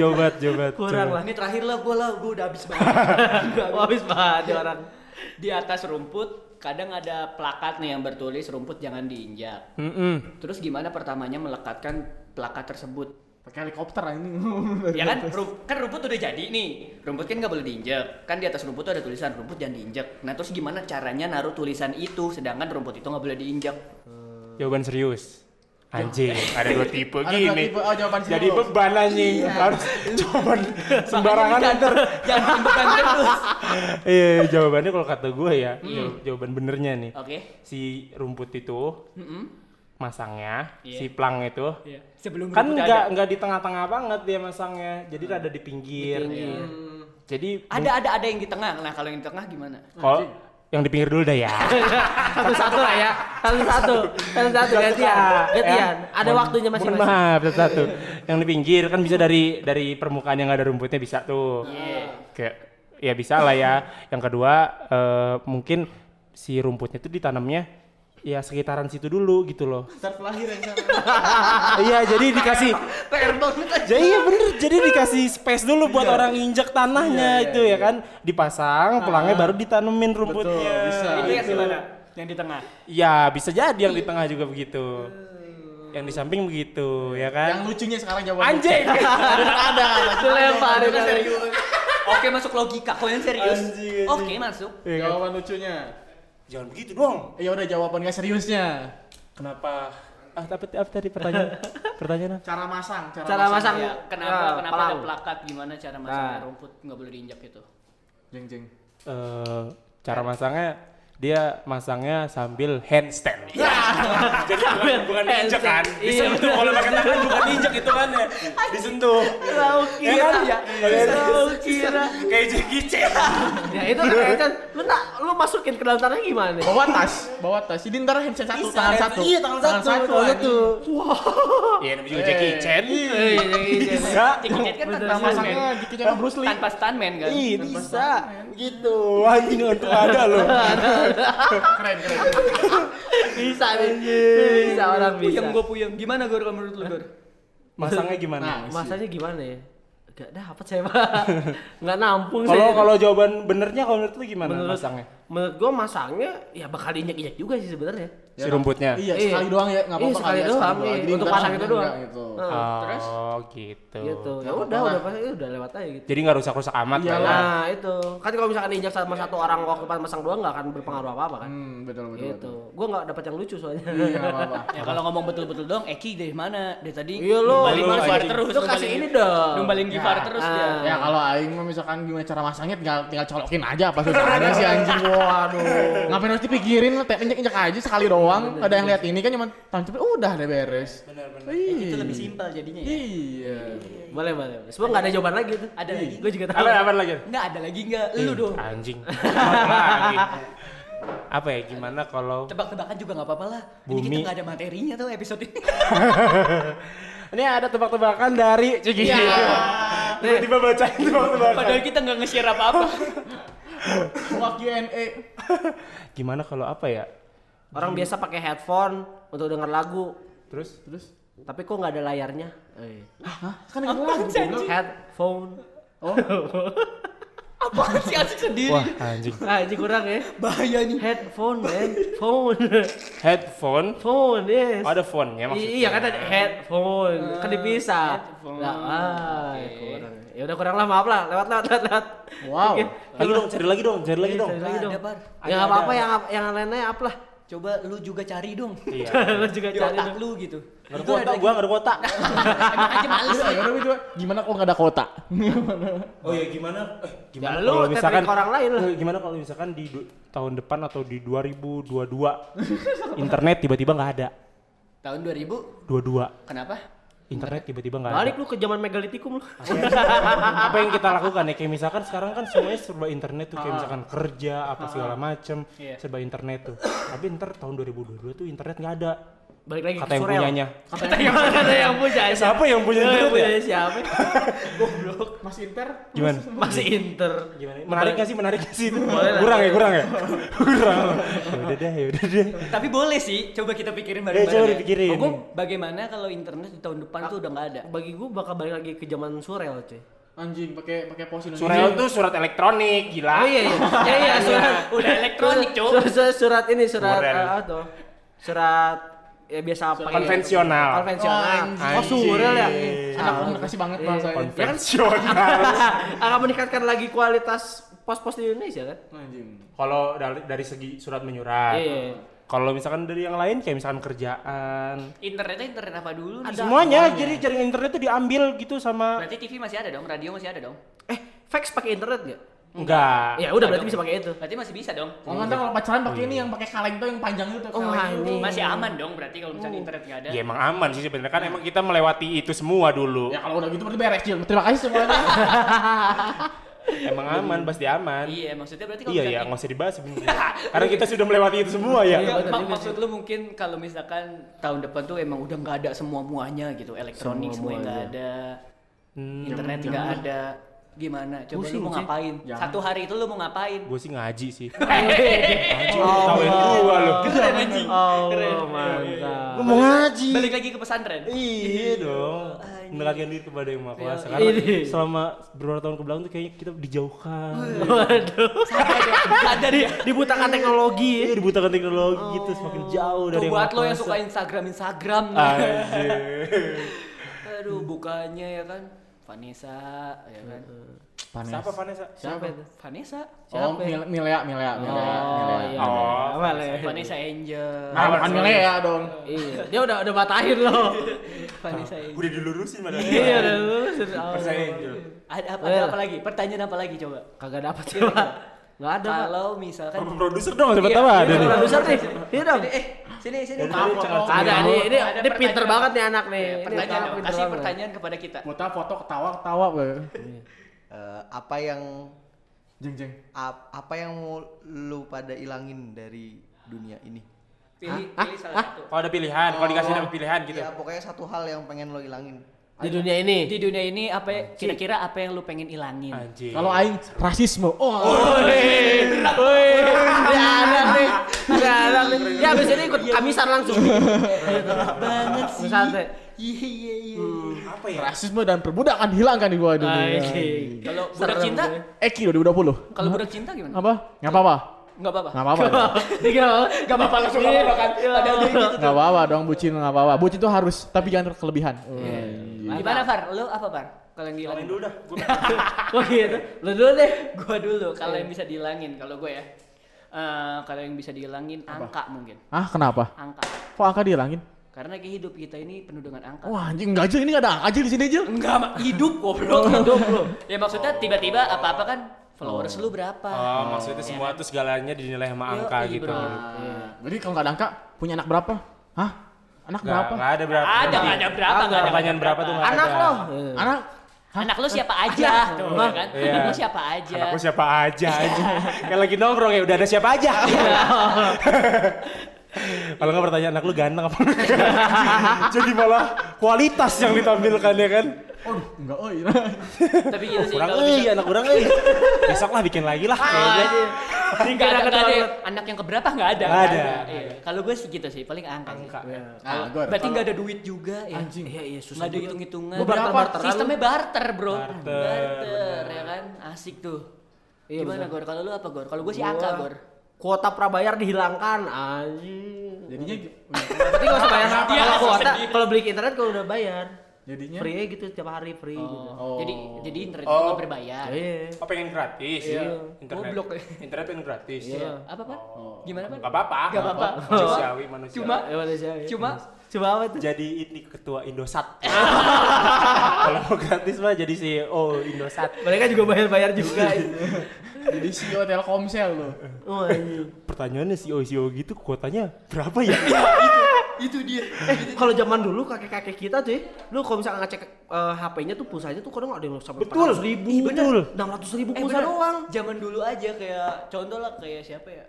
S5: Jauh banget, jauh banget.
S2: ya. kurang
S5: jauh
S2: lah
S4: Ini terakhir lah gue lah, gue udah habis
S2: (laughs)
S4: banget.
S2: Wah, habis banget nih orang
S4: Di atas rumput kadang ada plakat nih yang bertulis rumput jangan diinjak.
S5: banget. Mm-mm.
S4: Terus gimana pertamanya melekatkan plakat tersebut?
S3: Pakai helikopter ini.
S4: Ya kan, ru- kan rumput udah jadi nih. Rumput kan nggak boleh diinjek. Kan di atas rumput tuh ada tulisan rumput jangan diinjek. Nah terus gimana caranya naruh tulisan itu, sedangkan rumput itu nggak boleh diinjak?
S5: Jawaban serius. Anjing, ada dua tipe
S3: (laughs) Ada dua
S5: gini.
S3: tipe. Oh, jawaban serius.
S5: Jadi beban anjing.
S4: Iya. (laughs)
S5: Harus jawaban sembarangan
S4: Makanya (laughs)
S5: ntar.
S4: jangan- Jangan timbekan terus.
S5: Iya, jawabannya kalau kata gue ya, jaw- jawaban benernya nih.
S4: Hmm. Oke.
S5: Si rumput itu
S4: Mm-mm.
S5: masangnya,
S4: Iya.
S5: si plang itu
S4: Iya. Sebelum
S5: kan
S4: rumput
S5: nggak nggak di tengah-tengah banget dia masangnya, jadi rada di pinggir. Hmm. Jadi
S4: ada ada ada yang di tengah. Nah kalau yang di tengah gimana?
S5: kalau yang di pinggir dulu dah
S4: (laughs)
S5: ya.
S2: satu satu lah ya satu satu satu satu gantian gantian ada
S5: Mohon-
S2: waktunya
S5: Ya. mohon
S2: masing-masing
S5: Maaf, satu, satu. yang di pinggir kan bisa dari dari permukaan yang nggak ada rumputnya bisa tuh. Kayak ya bisa lah ya. Yang kedua eh, mungkin si rumputnya itu ditanamnya ya sekitaran situ dulu gitu loh.
S3: Start
S2: (laughs)
S3: lahir yang
S5: (laughs) Iya, jadi dikasih
S4: PR banget aja.
S5: jadi iya bener, jadi dikasih space dulu buat orang injek tanahnya itu ya kan dipasang, pelangnya baru ditanemin rumputnya.
S3: Betul, bisa.
S4: Itu yang ya, gimana? Yang di tengah.
S5: Ya bisa jadi yang di tengah juga begitu. Yang di samping begitu, ya
S3: Yang
S5: kan?
S3: lucunya sekarang jawaban.
S5: Anjing.
S3: ada.
S2: dilempar
S4: Itu serius. Oke masuk logika. Kau yang serius.
S3: Anjing, anjing.
S4: Oke masuk.
S3: Iya, kan? Jawaban lucunya.
S5: Jangan begitu dong.
S3: Ya udah jawaban gak seriusnya.
S5: Kenapa? Ah, tapi apa tadi (laughs) pertanyaan? pertanyaan apa?
S3: Cara masang, cara,
S2: Cara masang.
S4: Ya,
S2: Ah,
S4: kenapa kenapa ada
S2: palang.
S4: plakat gimana cara masangnya
S2: Nah.
S4: rumput nggak boleh gitu? diinjak itu?
S3: Jeng jeng.
S5: Eh, cara masangnya dia masangnya sambil handstand. (laughs) Jadi bukan, bukan diinjek kan?
S2: handstand. Iya,
S5: Disentuh kalau pakai tangan bukan diinjek itu kan ya. Disentuh.
S2: Tahu
S5: Ya
S2: kira
S5: kan?
S2: ya. Tahu kira.
S5: Kayak Jackie Chan.
S2: Ya itu
S5: Iya.
S2: kan lu nak lu masukin ke dalam tanah gimana?
S5: Oh,
S3: Bawa tas, bawa tas. Jadi ntar handset satu, tangan satu.
S5: Iya, tangan satu.
S3: tangan
S5: satu. Iya, namanya juga Jackie Chan.
S2: Eh, iya, iya.
S5: Bisa.
S4: Tiket kan
S2: Bener,
S4: tanpa
S2: iya.
S4: masangnya.
S3: Masangnya gitu kayak Bruce Lee.
S4: Tanpa stuntman kan?
S5: Iya, bisa. Gitu. Anjing untuk ada loh.
S3: Keren keren.
S2: Bisa nih.
S5: iya,
S2: Bisa orang bisa.
S4: Iya, Puyeng gue puyeng. Gimana Gor kalau menurut lu Gor?
S5: Masangnya
S3: Nah,
S5: gimana?
S2: Masanya gimana ya? Gak dapat saya pak.
S5: (laughs)
S2: Gak nampung saya.
S5: Kalau kalau jawaban benernya kalau menurut lu gimana
S2: menurut
S5: masangnya?
S2: menurut gua masangnya ya bakal injek injek juga sih sebenarnya.
S5: Si rumputnya.
S3: Iya, sekali doang ya, enggak
S2: Iya,
S3: apa-apa
S2: sekali
S3: kali ya,
S2: doang,
S3: sekali doang.
S2: iya.
S3: Jadi
S2: Untuk
S3: ntar
S2: pasang itu
S3: enggak
S2: doang.
S3: gitu.
S2: Heeh.
S5: Oh,
S4: Terus?
S5: gitu.
S2: Gitu. Ya
S3: Nggak
S2: udah
S3: apa-apa
S2: udah
S3: lah.
S2: pasti udah lewat aja gitu.
S5: Jadi nggak rusak-rusak amat lah ya.
S3: Iyalah.
S2: Nah, itu. Kan kalau misalkan injak sama satu orang waktu pas masang doang nggak akan berpengaruh apa-apa kan?
S3: Hmm, betul betul.
S2: Gitu. Gua nggak dapat yang lucu soalnya.
S3: betul. Iya, enggak apa-apa.
S4: Ya kalau ngomong betul-betul dong, Eki dari mana? Dari tadi
S2: Iya, lu.
S4: numbalin
S5: Lu,
S4: Gifar
S5: anjing.
S4: terus.
S2: Lu kasih
S4: numbalin-
S2: ini dong.
S4: Numbalin Gifar
S3: Ya.
S4: terus
S2: Ah.
S4: dia.
S3: Ya kalau aing mah misalkan gimana cara masangnya tinggal tinggal colokin aja apa susahnya sih anjing gua. Waduh. Ngapain harus dipikirin? Teh injek injek aja sekali doang. Ada yang lihat ini kan cuma tancap udah deh beres. Benar benar.
S4: Itu lebih simpel jadinya ya.
S3: Iya.
S2: (laughs) Boleh, boleh. Sebab nggak ada jawaban lagi tuh.
S4: Ada lagi?
S2: Gue juga tahu.
S5: Apa apa lagi?
S2: Hmm.
S4: Enggak ada lagi enggak lu dong.
S5: Anjing. Lagi. (laughs) Apa ya gimana kalau
S4: Tebak-tebakan juga nggak apa-apa lah. Ini kita
S5: Bumi.
S4: nggak ada materinya tuh episode ini. (laughs)
S5: ini ada tebak-tebakan dari Cigi. Tiba-tiba bacain tebak-tebakan.
S4: Padahal kita nggak nge-share
S2: (laughs)
S4: apa-apa.
S3: Wah Q&A.
S5: Gimana kalau apa ya?
S2: Orang biasa pakai headphone untuk denger lagu,
S5: Terus
S3: Terus?
S2: tapi kok nggak ada layarnya?
S3: Hah? Kan yang lagu.
S2: Headphone.
S4: Apa sih asik sendiri?
S5: wah anjing.
S2: Ah, ini kurang ya.
S4: Bahaya nih.
S2: Headphone, man. Phone. (laughs)
S5: Headphone
S2: Phone, yes.
S5: Oh, ada phone-nya maksudnya. Ah,
S2: I- iya kan tadi headphone, kan dipisah. Lah, ah, kurang. Ya udah kurang lah, maaf lah. Lewat lewat lewat. lewat.
S3: Wow.
S2: Oke.
S5: Lagi dong, cari lagi dong, cari lagi dong.
S2: Iya, Cari lagi
S4: Ada,
S2: dong.
S4: Par.
S2: Yang
S5: Ada,
S2: apa-apa
S5: ada.
S2: yang yang lainnya apa
S4: (laughs)
S2: lah.
S4: Coba lu juga cari dong.
S5: Iya.
S2: Lo juga
S4: Di
S2: cari
S4: otak
S2: dong.
S4: lu gitu.
S5: Gak ada kuota, gua gak ada kuota.
S4: Emang aja males.
S3: Ayo, ayo, ayo. Gimana kalau nggak ada kota?
S5: Oh ya gimana? Eh,
S2: Ya, lu
S5: kalau misalkan
S2: tetrik orang lain lah.
S5: Eh, Gimana kalau misalkan di du- tahun depan atau di 2022 (laughs) internet tiba-tiba nggak ada.
S4: Tahun 2000
S5: 22
S4: kenapa?
S5: internet tiba-tiba nggak ada.
S2: Balik lu ke zaman
S4: (laughs)
S2: megalitikum lu.
S5: Apa yang kita lakukan ya? Kayak misalkan sekarang kan semuanya serba internet tuh, kayak misalkan kerja apa segala macem serba internet tuh. Tapi ntar tahun 2022 tuh internet nggak ada.
S2: Balik lagi
S5: Kata
S2: ke
S5: yang
S2: Surel.
S5: punyanya. Eh,
S2: Kata yang kata yang punya.
S5: Siapa yang punya
S2: Yang
S5: internet ya?
S2: punya siapa? Goblok.
S3: Mas Inter.
S5: Gimana?
S2: Masih inter.
S5: Gimana? Menarik nggak sih? Menarik (laughs) nggak sih? itu?
S2: Boleh lah.
S5: Kurang ya? Kurang (laughs) ya? kurang. Ya udah deh, ya udah deh.
S4: Tapi boleh sih, coba kita pikirin
S5: Ya
S4: bareng-bareng.
S5: coba
S4: ya.
S5: dipikirin.
S4: Gua bagaimana kalau internet di tahun depan tuh udah nggak ada?
S2: Bagi gua bakal balik lagi ke zaman Surel, cuy.
S3: Anjing pakai pakai pos Indonesia.
S5: Surel tuh surat elektronik, gila.
S2: Oh iya (laughs) iya. Ya iya surat
S4: Udah elektronik, Cuk.
S2: Surat, surat, surat ini surat
S5: Surel.
S2: eh, atau surat ya biasa pakai
S5: konvensional.
S2: Konvensional.
S5: Anjing.
S2: Oh, Surel
S3: Iya.
S2: ya.
S3: Anak komunikasi banget bahasa ini.
S5: Konvensional.
S2: (laughs) Akan meningkatkan lagi kualitas pos-pos di Indonesia kan?
S3: Anjing.
S5: (laughs) Kalau dari, dari segi surat menyurat.
S2: Iya.
S5: Kalau misalkan dari yang lain kayak misalkan kerjaan.
S4: Internetnya internet apa dulu nih?
S5: semuanya, jadi jaringan internet tuh diambil gitu sama
S4: Berarti TV masih ada dong, radio masih ada dong.
S2: Eh, fax pakai internet enggak?
S5: enggak.
S4: Iya.
S2: Ya udah berarti bisa pakai itu.
S4: Berarti masih bisa dong.
S3: Oh, ntar kalau pacaran pakai ini yang pakai kaleng tuh yang panjang itu tuh.
S2: Oh,
S3: kaleng itu.
S2: anjing.
S4: Masih aman dong berarti kalau misalnya internet nggak ada.
S5: Ya emang aman sih sebenarnya
S4: Iya.
S5: kan emang kita melewati itu semua dulu.
S3: Ya kalau udah gitu berarti beres, Jil. Terima kasih semuanya.
S2: (laughs)
S5: Emang aman, pasti aman.
S4: Iya, maksudnya berarti kalau
S5: Iya ya,
S4: misalnya-
S5: nggak usah dibahas sebenarnya. Karena kita sudah melewati itu semua ya.
S4: Iya, mak- maksud lu mungkin kalau misalkan tahun depan tuh emang udah nggak ada semua muanya gitu, elektronik semuanya nggak ada, internet nggak ada, gimana? Coba lu mau ngapain? Satu hari itu lu mau ngapain?
S5: Gue sih ngaji
S4: (laughs)
S5: sih.
S2: Hehehe.
S5: Ngaji lu ketawain
S4: Oh.
S5: gua lu.
S4: Keren anjing.
S2: Allah Oh, mantap.
S5: Gua mau ngaji.
S4: Balik lagi ke pesantren. (laughs)
S5: Iya dong. Mendekatkan diri kepada yang maha
S4: Iya,
S5: kuasa. Karena
S2: Ini.
S5: selama beberapa tahun kebelakang tuh kayaknya kita dijauhkan.
S4: Oh, iya.
S2: Waduh.
S4: Sadar ya.
S2: Dibutakan teknologi. ya.
S5: Iya dibutakan teknologi gitu semakin jauh dari
S4: Oh. Tuh
S5: yang
S4: buat
S5: Maha
S4: lo yang
S5: Kuasa.
S4: suka Instagram Instagram.
S5: Ah. Anjir.
S4: Aduh, bukannya ya kan. Vanessa, ya kan.
S3: Panas.
S5: Siapa Vanessa?
S2: Siapa itu?
S4: Vanessa.
S3: Oh, Mil- Milea, Milea, Milea,
S2: Oh
S3: Milea.
S2: iya. Ah,
S5: Oh,
S2: Boleh.
S4: Vanessa Angel.
S3: Nah, bukan Milea dong.
S2: Iya, dia udah udah batahin loh.
S4: Vanessa Angel.
S5: Udah dilurusin padahal.
S2: Iya, udah lulus. Oh.
S4: Ada apa,
S2: Boleh
S4: ada
S2: lah.
S4: apa lagi? Pertanyaan apa lagi coba?
S2: Kagak dapat coba. Enggak Iya, ada, Pak.
S4: Kalau misalkan
S5: Produser dong siapa tahu ada
S2: Ini
S5: nih.
S2: Produser nih. Iya dong.
S4: eh sini sini.
S3: Apa?
S2: Ada
S3: Ada.
S2: nih, ini
S4: Ada
S2: ini pinter
S4: pertanyaan.
S2: banget nih anak nih. Ini
S4: Pertanyaan
S2: anak
S4: dong.
S2: pinter
S4: Kasih
S2: banget.
S4: pertanyaan kepada kita.
S3: Foto, foto, ketawa, ketawa. gue.
S1: Eh, apa yang
S3: Jeng, jeng.
S1: ap- apa yang mau lu pada ilangin dari dunia ini?
S4: Pilih pilih salah satu.
S5: Kalau ada pilihan, kalau dikasih ada pilihan gitu.
S1: Ya pokoknya satu hal yang pengen lo ilangin.
S2: Di dunia ini.
S4: Di dunia ini apa ya- kira-kira apa yang lu pengen ilangin?
S5: Anjir.
S3: Kalau aing rasisme. Oh,
S2: Woi, nggak ada nih. Nggak ada nih. Ya abis ini ikut kamisan langsung.
S4: Banget sih.
S2: Santai.
S4: Iya iya iya.
S5: apa ya?
S3: rasisme dan perbudakan hilangkan di gua
S2: Ah,
S3: dunia.
S2: iya, Anjing.
S4: Kalau budak
S2: Serem
S4: cinta,
S2: gue.
S3: Eki 2020.
S4: kalau budak cinta gimana?
S3: Apa? Enggak apa-apa.
S4: Enggak apa-apa.
S3: Enggak apa-apa.
S4: (laughs)
S2: Tiga, gak apa-apa langsung gak apa-apa kan.
S4: Iya.
S2: Padahal dia gitu.
S3: Enggak apa-apa dong bucin enggak apa-apa. Bucin tuh harus tapi jangan kelebihan.
S2: Iya,
S4: Gimana Far? Lu apa Far? Kalau yang
S5: Main
S4: dihilangin.
S5: dulu dah. Gua-
S2: Kok
S5: Oh, iya
S2: gitu? Lu dulu deh.
S4: Gua dulu kalau yang bisa dihilangin kalau gue ya. Eh, kalau yang bisa dihilangin angka mungkin.
S3: Ah, kenapa?
S4: Angka.
S3: Kok angka dihilangin?
S4: Karena hidup kita ini penuh dengan
S5: Oh,
S4: angka.
S3: Wah, anjing enggak aja ini enggak ada angka aja di sini aja.
S4: (laughs) Enggak, Mak. hidup goblok hidup lu. Ya maksudnya Oh. tiba-tiba apa-apa kan followers lu berapa
S5: Oh, maksudnya semua tuh segalanya dinilai sama angka
S4: Yoi, iya,
S5: gitu.
S4: bro.
S3: Jadi kalau nggak ada angka, punya anak berapa? Hah? Anak
S5: Nggak
S3: berapa?
S5: nggak ada berapa.
S4: ada nggak ada berapa nggak ada
S5: Pertanyaan berapa tuh nggak ada.
S2: Anak lo.
S3: Anak?
S4: anak lu siapa aja tuh ya kan
S5: Iya.
S4: anak lu siapa aja
S5: Anakku siapa aja aja. Kayak lagi nongkrong ya udah ada siapa aja. (laughs) Kalau nggak pertanyaan anak lu ganteng apa enggak? (laughs) Jadi malah kualitas yang ditampilkan ya kan.
S3: Aduh, nggak oi. (laughs)
S4: tapi gitu sih
S5: Kurang
S4: kalau
S5: euy,
S4: bisa
S5: anak kurang (laughs) euy. Besok lah bikin lagi lah. kayaknya.
S4: nggak
S5: Dikira
S4: ada, nggak ada
S5: Ah. keterlaluan.
S4: anak yang keberapa nggak ada
S5: Nggak
S4: nggak
S5: ada.
S4: Iya. kalau gue sih gitu sih paling angka sih.
S3: Nah, gue ada.
S4: berarti nggak ada duit juga ya
S3: Anjing.
S2: Iya iya susah.
S4: nggak ada
S2: juga.
S4: hitung-hitungan
S2: Gua barter-barteran lu.
S4: sistemnya barter bro
S5: Barter,
S4: ya kan asik tuh
S2: Iya,
S4: gimana
S2: bener.
S4: gor kalau lu apa gor kalau gue sih angka
S2: Gua-
S4: gor
S2: Kuota prabayar dihilangkan anjing.
S3: Jadinya
S2: Berarti gak usah bayar apa
S4: Dia
S2: kalau
S4: langsung
S2: kuota,
S4: sedih.
S2: kalau beli internet kalau udah bayar.
S3: jadinya
S2: Free aja gitu tiap hari free gitu.
S3: Oh.
S4: jadi jadi internet gue nggak berbayar
S2: Iya.
S5: Oh pengen gratis. Internet.
S4: Goblok ya.
S5: Internet pengen gratis.
S4: Iya. apa pak gimana pak
S5: Gak apa-apa.
S4: Nggak apa-apa.
S5: Manusiawi manusiawi.
S4: Cuma-
S2: Cuma
S4: Cuma-
S2: coba apa tuh?
S5: jadi ini ketua
S4: (laughs)
S5: Indosat. Kalau mau gratis mah jadi CEO Indosat.
S2: Mereka juga bayar-bayar juga.
S3: jadi CEO Telkomsel lo.
S2: Oh anjing.
S5: Pertanyaannya CEO CEO gitu kuotanya berapa ya?
S4: Iya. itu dia
S2: Eh, (laughs) kalau zaman dulu kakek-kakek kita tuh, ya, lu kalau misalnya ngecek eh, HP-nya tuh pulsanya tuh kadang ada yang sampai
S5: Betul.
S2: 400 ribu,
S5: Ih, betul.
S2: 600 ribu
S4: eh
S2: pulsa
S4: bener
S2: doang.
S4: zaman dulu aja kayak contoh lah kayak siapa ya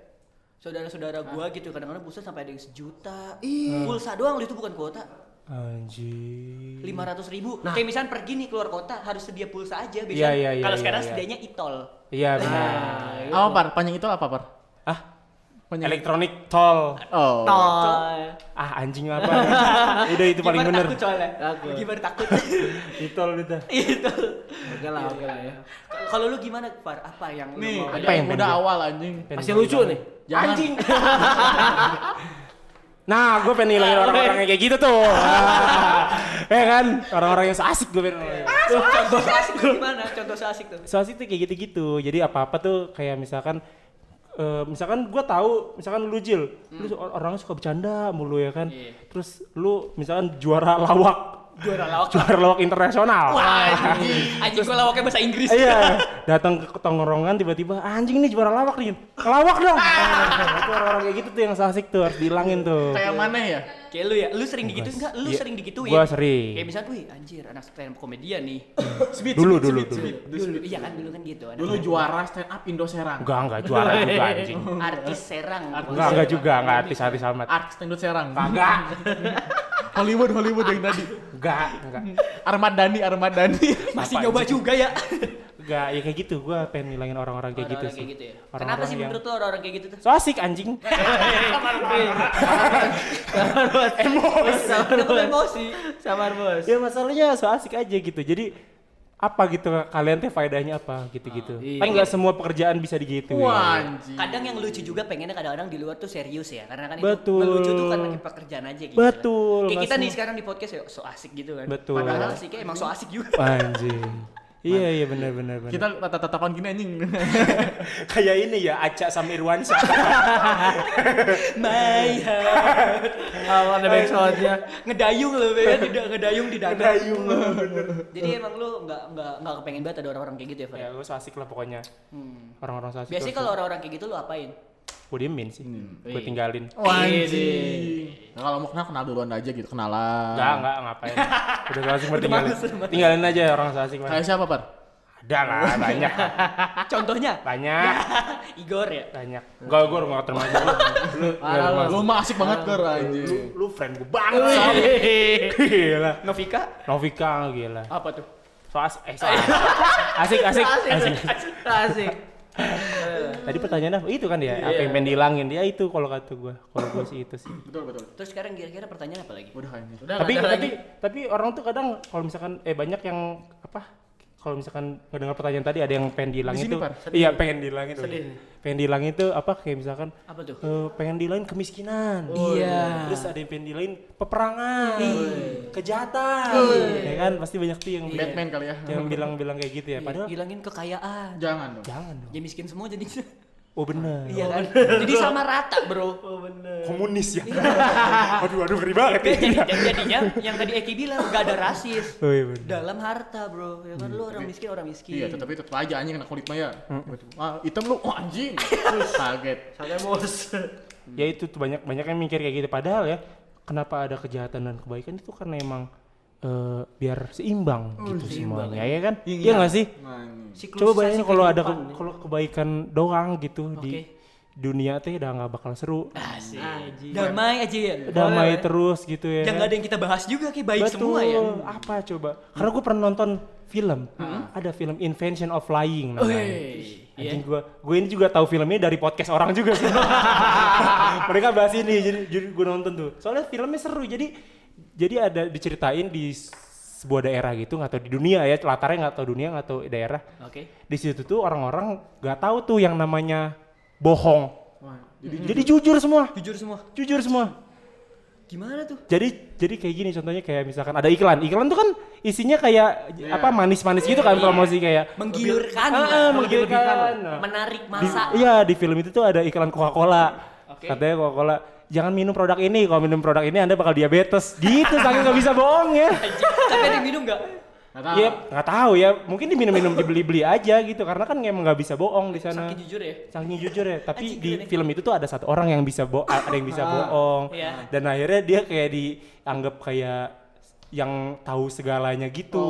S4: saudara-saudara gua gitu kadang-kadang pulsa sampai ada yang sejuta pulsa doang lu itu bukan kuota
S5: Anjir.
S4: lima ratus ribu
S2: Nah.
S4: kayak misalnya pergi nih keluar kota harus sedia pulsa aja
S5: Iya,
S4: biasanya
S5: iya, iya,
S4: kalau
S5: iya,
S4: sekarang
S5: iya.
S4: sedianya itol
S5: Iya benar.
S3: Apa par? Panjang itu apa par?
S4: Nah.
S5: Ah,
S3: Panjang.
S5: elektronik tol.
S3: oh.
S2: Toy.
S5: Ah, anjing
S4: (laughs)
S5: apa? udah itu paling
S4: Gimana
S5: bener. gitu.
S4: takut soalnya
S2: Takut.
S4: gimana takut (laughs)
S5: Itol udah.
S4: itu
S2: Oke lah, oke lah ya.
S4: kalau lu gimana Far apa yang lu
S3: Nih,
S4: mau?
S3: ada
S5: Apa yang
S3: yang udah
S5: pendek?
S3: awal anjing.
S2: Pasti yang lucu nih.
S3: Jangan.
S2: Anjing.
S5: Nah, gue pengen ngilangin orang-orang yang kayak gitu
S4: (laughs)
S5: tuh. (laughs) ya kan? Orang-orang yang so asik gue pengen. ngilangin.
S4: contoh asik gimana contoh asik tuh
S5: so asik tuh kayak gitu-gitu. Jadi apa-apa tuh kayak misalkan eh, misalkan gue tahu misalkan lu Jil,
S4: Hmm.
S5: lu or- orangnya suka bercanda mulu ya kan.
S4: Iya.
S5: Terus lu misalkan juara lawak,
S4: juara lawak
S5: juara lawak internasional.
S4: wah anjing anjing gua lawaknya bahasa Inggris
S5: Iya, datang ke tongkrongan tiba-tiba anjing nih juara lawak nih. Lawak
S4: (laughs)
S5: dong. Nah, itu orang-orang kayak gitu tuh yang so asik tuh harus dihilangin tuh.
S3: Kayak mana ya?
S4: Kayak lu ya, lu sering digituin enggak? Lu
S5: Iya,
S4: sering digituin.
S5: gua sering.
S4: Kayak misalnya, wih anjir anak stand up komedian nih.
S5: Dulu dulu dulu.
S4: dulu iya kan dulu kan gitu anak
S3: Dulu juara stand up Indo Serang.
S5: Enggak, enggak juara juga anjing.
S4: artis Serang.
S5: Enggak, enggak juga, enggak artis-artis amat.
S3: Artis Indo Serang.
S5: Enggak,
S3: Hollywood Hollywood yang tadi.
S5: enggak, enggak.
S3: Armad Dhani, Armad Dhani.
S4: Masih
S5: Apa
S4: nyoba juga ya.
S5: Enggak, ya kayak gitu. Gua pengen ngilangin orang-orang kayak gitu
S4: Orang-orang
S5: sih.
S4: kayak gitu ya.
S5: Orang-orang
S4: Kenapa sih
S5: yang-
S4: menurut lu orang-orang kayak
S5: (laughs)
S4: gitu tuh?
S5: So asik anjing.
S4: Emosi. Kenapa lu emosi?
S2: Sabar, Bos.
S5: ya masalahnya so asik aja gitu. Jadi apa gitu kalian teh faedahnya apa
S4: Ah,
S5: gitu-gitu.
S2: iya.
S5: Kan enggak semua pekerjaan bisa ya. digituin.
S3: Wah, anjing.
S4: Kadang yang lucu juga pengennya kadang-kadang di luar tuh serius ya. Karena kan
S5: Betul.
S4: itu lucu tuh karena kayak pekerjaan aja gitu.
S5: Betul,
S4: Kayak
S5: nggak
S4: kita nih
S5: semua.
S4: sekarang di podcast ya so asik gitu kan.
S5: Betul.
S4: Padahal asiknya emang so asik juga. (laughs)
S5: Anjing. Iya iya benar benar benar.
S3: Kita tatap-tatapan gini anjing.
S5: kayak ini ya Aca sama Irwansyah.
S4: My heart.
S2: Awal ada backsoundnya.
S4: ngedayung
S5: (laughs)
S4: loh ya tidak ngedayung di danau
S5: Ngedayung,
S4: jadi emang lu nggak nggak nggak kepengen banget ada orang-orang kayak gitu ya Fer
S5: ya gue so asik lah pokoknya. Orang-orang so asik.
S4: Hmm. biasanya kalau Hmm, iya. orang-orang kayak gitu lu apain
S5: gue diemin sih. Gue tinggalin.
S3: Wah, anjing. Nah, kalau mau kenal kenal duluan aja gitu, kenalan.
S5: Enggak, enggak ngapain. (laughs) Udah so asik mah
S4: Udah
S5: tinggalin.
S4: males, udah males.
S5: Tinggalin aja orang so asik mah.
S3: Kayak siapa, Par?
S5: Ada lah banyak.
S4: contohnya
S5: Banyak.
S4: Igor ya
S5: Banyak. Enggak gue enggak terima aja. Lu- Lu
S2: Parah,
S5: enggak
S3: Lu mah asik banget, Gar,
S5: termasuk.
S3: anjing.
S5: (laughs) Lu- lu friend gue
S2: Iya,
S5: banget. Sam. Gila.
S4: Novika
S5: Novika gila.
S4: apa tuh
S5: So asik, eh so asik. Asik, asik,
S2: (laughs)
S5: asik.
S2: Asik.
S5: Tadi pertanyaannya apa? itu kan ya, apa yang pengen dihilangin dia itu kalau kata gue, kalau gue sih itu sih.
S3: Betul, betul.
S4: terus sekarang kira-kira pertanyaan apa lagi
S3: Udah anjing.
S5: tapi tapi tapi orang tuh kadang kalau misalkan eh banyak yang apa kalau misalkan ngedengar pertanyaan tadi ada yang pengen dihilangin
S3: sini,
S5: tuh
S3: Par.
S5: iya pengen dihilangin tuh
S2: Sedih.
S5: pengen dihilangin tuh apa kayak misalkan
S4: apa tuh
S5: eh, pengen dihilangin kemiskinan
S4: iya
S5: terus ada yang pengen dihilangin peperangan kejahatan
S4: Iya.
S5: ya kan pasti banyak tuh yang
S3: Batman kali ya.
S4: Iya.
S5: yang bilang-bilang kayak gitu ya padahal
S4: hilangin kekayaan
S5: Ya.
S3: Jangan dong.
S5: jangan dong
S4: jadi miskin semua jadi
S5: Oh bener.
S4: Iya kan? Jadi sama rata, Bro.
S5: Komunis ya. aduh aduh ngeri banget
S4: Oke, jadi
S5: ya.
S4: jadi- jadinya yang tadi Eki bilang gak ada rasis
S5: (laughs) Oh iya bener.
S4: dalam harta, Bro. Ya kan lu orang miskin, orang miskin.
S3: Hmm, Iya, tapi tetep aja anjing kena kulit mah ya. Tiba-tiba, Ah, hitam lu, oh anjing. Terus kaget.
S2: Santai bos.
S5: Ya itu tuh banyak banyak yang mikir kayak gitu padahal ya kenapa ada kejahatan dan kebaikan itu karena emang eh, biar seimbang gitu semuanya ya kan?
S3: Iya,
S5: Iya nggak sih?
S4: Siklusasi
S5: Coba bayangin kalau ada
S4: kehidupan.
S5: ke- kalau kebaikan doang gitu di dunia teh udah nggak bakal seru.
S4: Asik. Ah, Damai aja
S3: Iya.
S4: ya.
S5: Damai terus gitu ya.
S4: Yang
S5: kan?
S4: gak ada yang kita bahas juga kayak baik
S5: Betul.
S4: semua ya.
S5: Apa coba? Karena gue pernah nonton film,
S4: Hmm.
S5: ada film Invention of Lying namanya.
S4: Iya.
S5: Anjing gue, gue ini juga tahu filmnya dari podcast orang juga
S4: (laughs)
S5: sih. Mereka bahas ini, jadi, gue nonton tuh. Soalnya filmnya seru, jadi jadi ada diceritain di s- sebuah daerah gitu, nggak tahu di dunia ya, latarnya nggak tahu dunia, nggak tahu daerah.
S4: Oke.
S5: Di situ tuh orang-orang nggak tahu tuh yang namanya bohong. jadi, jujur semua,
S4: Jujur semua.
S5: jujur semua
S4: Gimana tuh?
S5: jadi jadi kayak gini contohnya kayak misalkan ada iklan iklan tuh kan isinya kayak apa manis-manis gitu kan promosi kayak
S4: Iya. Menggiurkan.
S5: Ah, ah, menggiurkan.
S4: Menarik
S5: Di-
S4: masa.
S5: iya di film itu tuh ada iklan Coca-Cola katanya Coca-Cola jangan minum produk ini kalau minum produk ini anda bakal diabetes
S4: (laughs)
S5: gitu saking nggak bisa bohong ya
S4: Tapi ada yang minum gak?
S3: Nggak tahu.
S5: ya nggak tahu ya mungkin diminum-minum dibeli-beli aja gitu karena kan emang nggak bisa bohong di sana
S4: Saking jujur ya.
S5: Saking jujur ya, tapi
S4: Anjing,
S5: di
S4: gimana?
S5: film itu tuh ada satu orang yang bisa bo ada yang bisa bohong.
S4: Iya.
S5: Dan akhirnya dia kayak dianggap kayak yang tahu segalanya gitu.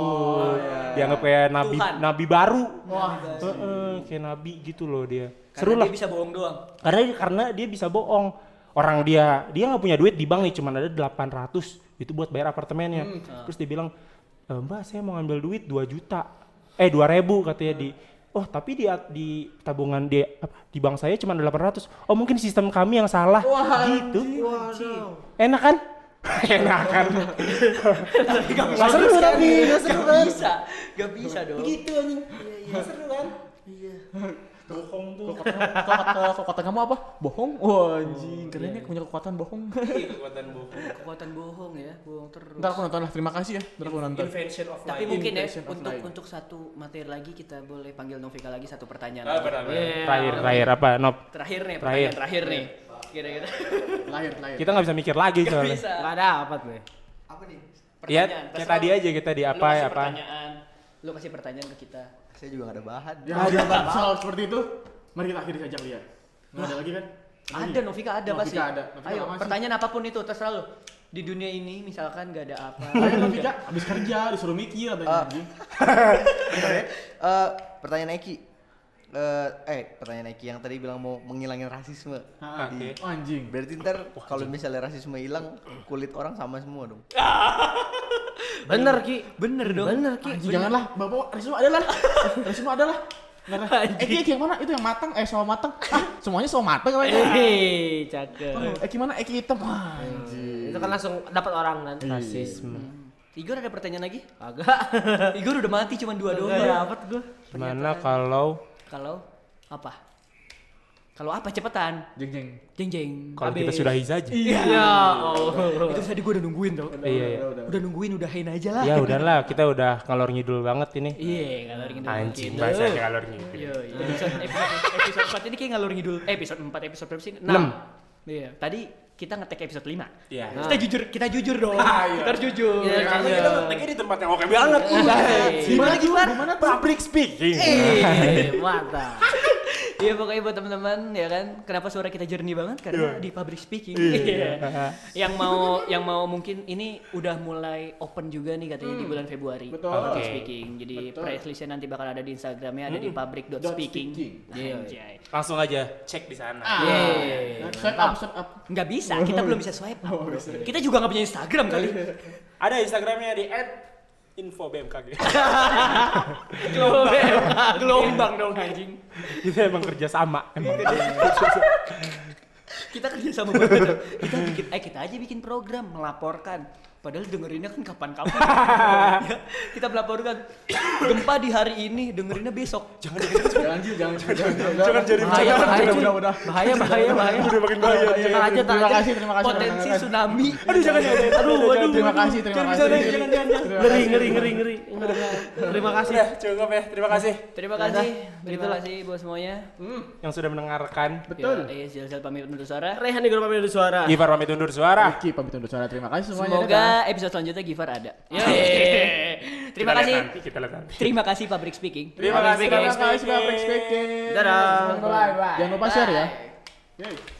S5: Dianggap kayak nabi
S4: Oh, iya. Tuhan.
S5: nabi baru. Heeh, kayak nabi gitu loh dia. Seru
S4: Karena
S5: lah.
S4: dia bisa bohong doang.
S5: Karena karena dia bisa bohong. Orang dia dia nggak punya duit di bank nih, cuman ada 800 itu buat bayar apartemennya.
S4: Hmm, ah.
S5: Terus dia bilang, "E, "Mbak, saya mau ngambil duit 2 juta." Eh, 2000 katanya di
S4: Hmm.
S5: Oh, tapi di di tabungan di apa, di bank saya cuma 800. Oh, mungkin sistem kami yang salah gitu. Enak
S4: (laughs)
S5: kan? Enak kan? Nggak seru tapi, nggak seru
S4: Gak
S5: kan?
S4: bisa. Gak bisa dong.
S5: Begitu anjing. Nggak seru kan? Bohong tuh.
S3: Kekuatan- kekuatan- Kekuatan kamu apa? Bohong? Wah anjing, keren ya punya kekuatan bohong.
S5: (laughs) Kekuatan bohong.
S4: Kekuatan bohong ya. Bohong terus.
S3: Ntar aku nonton lah, terima kasih ya. Ntar aku nonton.
S2: Invention of
S4: Tapi mungkin ya
S3: Intention of
S4: untuk
S3: lying.
S4: untuk satu materi lagi kita boleh panggil Novika lagi satu pertanyaan.
S3: Ah,
S4: lagi.
S5: Terakhir, terakhir apa? Nop.
S4: Terakhir
S5: Terakhir.
S4: nih,
S5: Iya.
S4: pertanyaan terakhir nih. Kira-kira.
S3: Lahir, lahir.
S5: kita nggak bisa mikir lagi
S4: Gak
S5: soalnya.
S4: bisa.
S2: Enggak dapat nih.
S1: Apa nih?
S5: Ya,
S4: Pertanyaan,
S5: kayak
S4: terserah
S5: tadi
S4: lu.
S5: aja kita di apa
S4: lu kasih
S5: ya apa.
S4: pertanyaan. Kan, Lu kasih pertanyaan ke kita.
S1: Saya juga gak ada bahan.
S3: Ya, ada soal seperti itu. Mari kita akhiri saja lihat. Nggak ada lagi kan?
S4: Ada Iya. Novika ada
S3: Novika
S4: pasti.
S3: ada. Novika
S4: Ayo,
S3: apa sih?
S4: pertanyaan apapun itu terserah lu. Di dunia ini misalkan gak ada
S2: (laughs)
S4: apa.
S3: Ayo Novika, habis kerja disuruh mikir apa
S1: Ah.
S3: anjing.
S1: Eh, pertanyaan Eki. Eh, eh, pertanyaan Eki yang tadi bilang mau menghilangin rasisme.
S3: Ah,
S5: Oke.
S3: oh, anjing.
S1: Berarti ntar kalau misalnya rasisme hilang, kulit orang sama semua dong.
S2: Bener Ki. Bener dong. Bener Ki.
S3: Anjing janganlah, bapak Risma adalah. (laughs) Risma adalah. Nggak ada. Eh, Eki, Eki yang mana? Itu yang matang, eh sama matang. Ah, semuanya sama matang apa ya?
S2: Hei, cakep.
S3: Oh, Eki mana? Eki hitam. Wah, anjing.
S2: Itu kan langsung dapat orang kan.
S5: Rasisme.
S4: Igor ada pertanyaan lagi?
S2: Agak.
S4: (laughs) Igor udah mati cuma dua
S2: Enggak
S4: doang.
S2: dapat gua.
S5: Gimana kalau
S4: Kalau apa? Kalau apa cepetan?
S3: Jeng jeng.
S4: Jeng jeng.
S5: kalau kita sudahi saja?
S2: Iya. Oh.
S4: Itu tadi gue udah nungguin tau.
S5: Iya, iya.
S4: Udah nungguin, udahin aja lah.
S5: Ya udahlah, kita udah ngalor ngidul banget ini.
S4: Iya, ngalor ngidul.
S5: Anjing,
S4: gitu.
S5: bahasa ngalor ngidul.
S4: Yo, yo. iya. episode, episode, episode 4 ini kayak ngalor ngidul. Eh, episode 4, episode berapa sih?
S5: Enam.
S4: Iya, tadi kita ngetek episode 5.
S5: Iya.
S4: Kita jujur, kita jujur dong. kita harus jujur.
S5: Nah,
S2: Iya,
S4: Ah, Iya,
S2: karena kita
S5: di tempat yang oke banget.
S3: Gimana gimana?
S5: Public speaking.
S2: Eh, mantap.
S4: (laughs) Iya, pokoknya buat teman-teman ya kan, kenapa suara kita jernih banget karena di public speaking. Iya. yang mau yang mau mungkin ini udah mulai open juga nih katanya di bulan Februari.
S3: Betul.
S5: Oke.
S4: Public speaking. Jadi
S3: Betul.
S4: press listnya nanti bakal ada di Instagramnya ada di
S3: Dot
S4: public.speaking.
S3: speaking.
S4: Anjay.
S5: Langsung aja cek di
S4: Ah.
S5: sana.
S4: Yeay.
S3: Nah, Swipe up, swipe up.
S4: Nggak bisa, kita belum bisa swipe up. bro. Kita juga nggak punya Instagram kali.
S5: Ada Instagramnya di (laughs) @infobmkg.
S4: Gelombang, gelombang dong anjing.
S5: Kita emang kerja sama. Emang.
S4: Kita kerja sama banget. Kita bikin, eh kita aja bikin program melaporkan Padahal dengerinnya kan
S3: (laughs)
S4: kapan-kapan. (laughs) ya, kita melaporkan gempa di hari ini, dengerinnya besok.
S5: Jangan jangan
S3: Jangan Ji, jangan jangan.
S5: jangan jadi
S2: bahaya
S5: bercanda.
S2: bahaya
S3: Udah,
S2: cuy.
S3: udah, udah.
S2: bahaya bahaya bahaya
S5: Udah makin bahaya.
S2: tenang aja tenang
S3: Terima
S2: aja
S3: kasih, terima kasih.
S4: Potensi
S3: terima kasih.
S4: tsunami.
S5: Aduh jangan jangan. jangan.
S2: aduh
S5: Jangan,
S2: aduh
S3: Terima kasih, terima
S5: Jangan,
S3: kasih.
S5: jangan, jangan, jangan, jangan.
S3: Terima
S2: ngeri
S3: kasih.
S2: ngeri ngeri ngeri Enggak, enggak, enggak. terima kasih
S5: Udah cukup ya. Terima kasih
S4: Terima kasih. Terima kasih buat semuanya.
S5: yang sudah mendengarkan.
S3: Betul.
S4: Ya, Iya, Zilzal pamit undur suara.
S2: Rehan di grup pemilu suara
S5: Gifar pamit undur suara.
S3: Ki pamit undur suara. Terima kasih semuanya. dadah.
S4: Semoga episode selanjutnya Gifar ada. Yeay. (laughs)
S5: Kita
S4: Terima
S5: lihat
S4: kasih.
S5: Nanti kita lihat nanti.
S4: Terima kasih Public Speaking.
S5: Terima kasih.
S3: Terima kasih sudah participating.
S5: Dadah.
S3: Jangan lupa share ya. Yeay.